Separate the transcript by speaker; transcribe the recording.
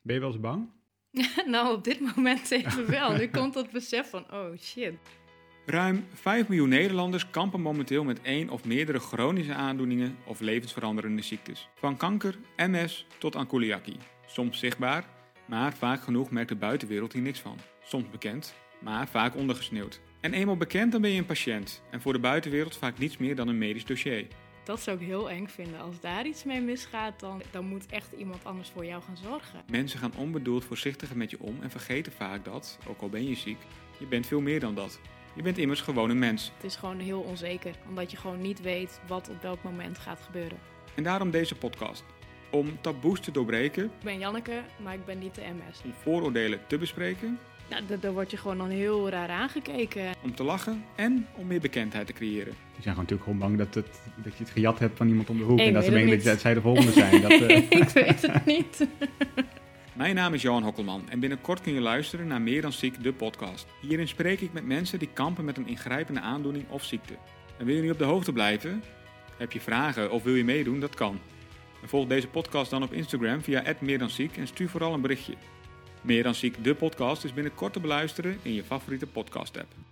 Speaker 1: Ben je wel eens bang?
Speaker 2: nou, op dit moment even wel. Nu komt dat besef van, oh shit.
Speaker 3: Ruim 5 miljoen Nederlanders kampen momenteel met één of meerdere chronische aandoeningen of levensveranderende ziektes. Van kanker, MS tot aan celiakie. Soms zichtbaar, maar vaak genoeg merkt de buitenwereld hier niks van. Soms bekend, maar vaak ondergesneeuwd. En eenmaal bekend dan ben je een patiënt en voor de buitenwereld vaak niets meer dan een medisch dossier.
Speaker 2: Dat zou ik heel eng vinden. Als daar iets mee misgaat, dan, dan moet echt iemand anders voor jou gaan zorgen.
Speaker 3: Mensen gaan onbedoeld voorzichtiger met je om en vergeten vaak dat, ook al ben je ziek, je bent veel meer dan dat. Je bent immers gewoon een mens.
Speaker 2: Het is gewoon heel onzeker, omdat je gewoon niet weet wat op welk moment gaat gebeuren.
Speaker 3: En daarom deze podcast. Om taboes te doorbreken,
Speaker 2: Ik ben Janneke, maar ik ben niet de MS.
Speaker 3: om vooroordelen te bespreken,
Speaker 2: Nou, da- daar word je gewoon dan heel raar aangekeken.
Speaker 3: om te lachen en om meer bekendheid te creëren.
Speaker 1: Die zijn gewoon natuurlijk gewoon bang dat, het, dat je het gejat hebt van iemand om de hoek.
Speaker 2: Ik
Speaker 1: en dat ze
Speaker 2: weet het
Speaker 1: menen
Speaker 2: niet.
Speaker 1: dat zij de volgende zijn. Dat, eh,
Speaker 2: ik weet het niet.
Speaker 3: Mijn naam is Johan Hokkelman en binnenkort kun je luisteren naar Meer dan Ziek, de podcast. Hierin spreek ik met mensen die kampen met een ingrijpende aandoening of ziekte. En wil je nu op de hoogte blijven? Heb je vragen of wil je meedoen? Dat kan. En volg deze podcast dan op Instagram via Meer dan Ziek en stuur vooral een berichtje. Meer dan Ziek, de podcast is binnenkort te beluisteren in je favoriete podcast app.